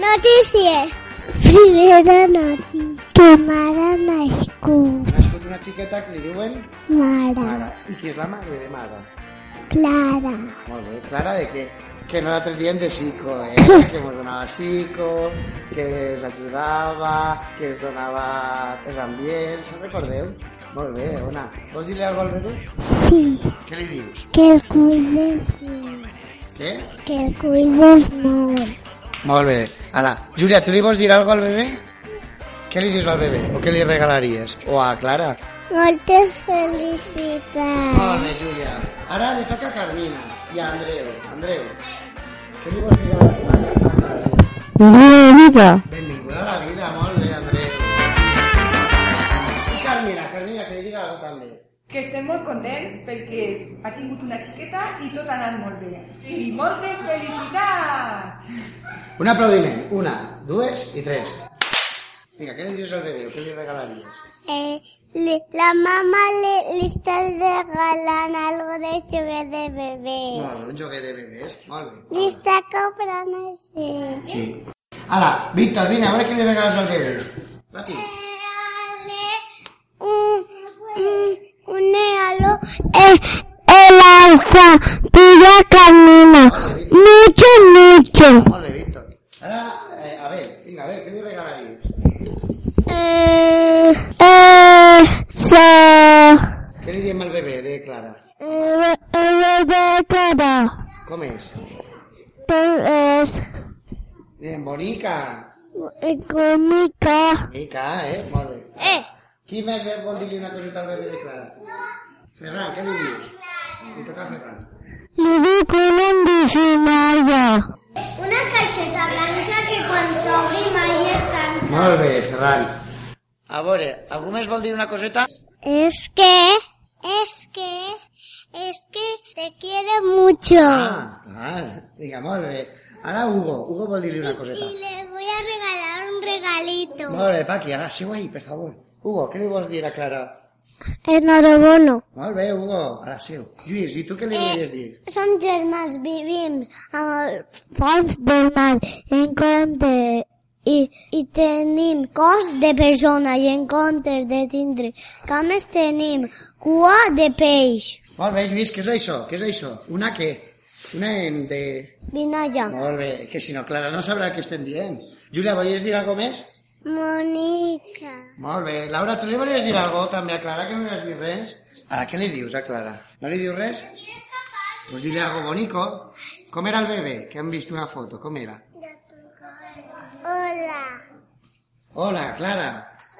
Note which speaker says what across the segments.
Speaker 1: notícies. Primera notícia. Mare nascut.
Speaker 2: Ha nascut una xiqueta que li diuen
Speaker 1: Mare.
Speaker 2: Mara. I qui és la mare de Mara?
Speaker 1: Clara.
Speaker 2: Molt bé, Clara, de què? Que nosaltres diem de psico, eh? Que ens donava psico, que ens ajudava, que ens donava els ambients, se'n recordeu? Molt bé, Ona. Vols dir-li alguna cosa al bebè?
Speaker 1: Sí.
Speaker 2: Què li dius?
Speaker 1: Que el cuides molt.
Speaker 2: Què?
Speaker 1: Que el cuides molt.
Speaker 2: Molt bé. Ara, Júlia, tu li vols dir alguna cosa al bebè? Què li dius al bebè? O què li regalaries? O a Clara?
Speaker 1: Moltes felicitats.
Speaker 2: Molt bé, Júlia. Ara li toca a Carmina i a Andreu. Andreu, què li vols dir a Carmina?
Speaker 3: Vida.
Speaker 2: Benvinguda a la vida, molt bé, Andreu. I Carmina, Carmina, que li diga alguna cosa també.
Speaker 4: que estem molt contents perquè ha tingut una xiqueta i tot ha anat molt bé. I moltes felicitats!
Speaker 2: Un aplaudiment. Una, dues i tres. Vinga, què li dius al bebè? Què li regalaries?
Speaker 1: Eh, li- la mamá le, le está regalando algo de juguete de bebé.
Speaker 2: Molt bé, un joguet de bebès. Molt bé.
Speaker 1: Le está comprando ese.
Speaker 2: Sí. Ara, Víctor, vine, a veure què li regales al bebè. Mati.
Speaker 1: un, un, un regalo. Eh, el alfa, pilla camina. Mucho, mucho.
Speaker 2: Molt bé, Víctor. Ara, eh, a veure, vinga, a veure, què li regalaries?
Speaker 1: Eh, eh, se.
Speaker 2: Què li diem al bebè de Clara?
Speaker 1: Eh, eh, de cara.
Speaker 2: Com és?
Speaker 1: Es
Speaker 2: Diem bonica.
Speaker 1: cómica.
Speaker 2: Mica, eh? Molt bé.
Speaker 1: Eh.
Speaker 2: Qui més vol dir-li una coseta al bebè de Clara? Ferran, què li dius? Li toca a Ferran.
Speaker 1: Le dic una indigenada. Una caixeta blanca que quan s'obri mai es tanca.
Speaker 2: Molt bé, Ferran. A veure, algú més vol dir una coseta?
Speaker 1: És que... És que... És que te quiere mucho.
Speaker 2: Ah, clar. Vinga, molt bé. Ara Hugo, Hugo vol dir-li una coseta.
Speaker 1: le voy a regalar un regalito.
Speaker 2: Molt bé, Paqui, ara seu ahí, per favor. Hugo, què li vols dir a Clara?
Speaker 1: Enhorabuena.
Speaker 2: Molt bé, Hugo, ara seu. Lluís, i tu què li volies dir?
Speaker 1: Som germans, vivim amb el fons del mar en compte i, i tenim cos de persona i en comptes de tindre cames tenim cua de peix.
Speaker 2: Molt bé, Lluís, què és això? Què és això? Una què? Una en de...
Speaker 1: Vine allà.
Speaker 2: Molt bé, que si no, Clara no sabrà què estem dient. Júlia, volies dir alguna més?
Speaker 1: Monica.
Speaker 2: Molt bé. Laura, tu li volies dir alguna cosa també a Clara, que no li has dit res? Ara, què li dius a Clara? No li dius res? Pues dile algo bonico. Com era el bebè? Que hem vist una foto. Com era?
Speaker 1: Hola.
Speaker 2: Hola, Clara.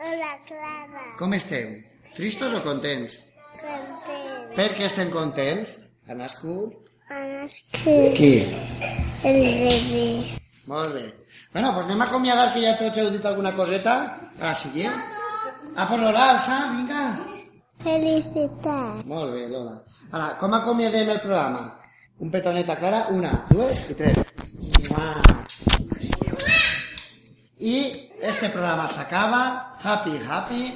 Speaker 1: Hola, Clara.
Speaker 2: Com esteu? Tristos o contents?
Speaker 1: Content.
Speaker 2: Per què estem contents? Ha nascut?
Speaker 1: Ha nascut
Speaker 2: Qui?
Speaker 1: el bebè.
Speaker 2: Molt bé. Bueno, doncs anem a acomiadar, que ja tots heu dit alguna coseta. A la siguiente. A por l'hora, alça, vinga.
Speaker 1: Felicitats.
Speaker 2: Molt bé, Lola. Ara, com acomiadem el programa? Un petonet a Clara, una, dues i tres. Mua. I este programa s'acaba. Happy, happy.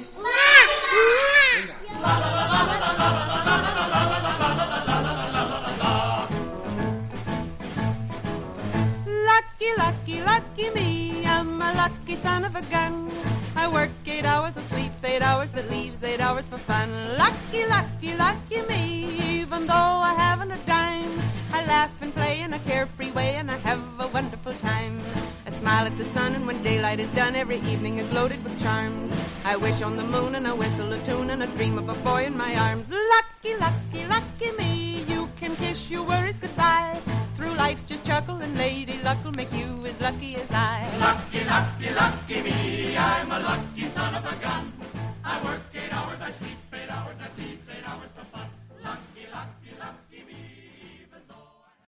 Speaker 5: Lucky, lucky, lucky me, I'm a lucky son of a gun. I work eight hours and sleep eight hours, that leaves eight hours for fun. Lucky, lucky, lucky me, even though I haven't a dime. I laugh and play in a carefree way and I have a wonderful time. I smile at the sun and when daylight is done, every evening is loaded with charms. I wish on the moon and I whistle a tune and I dream of a boy in my arms. Lucky, lucky, lucky me, you can kiss your worries goodbye. Through life, just chuckle and lady luck will make you as lucky as I. Lucky, lucky, lucky me, I'm a lucky son of a gun. I work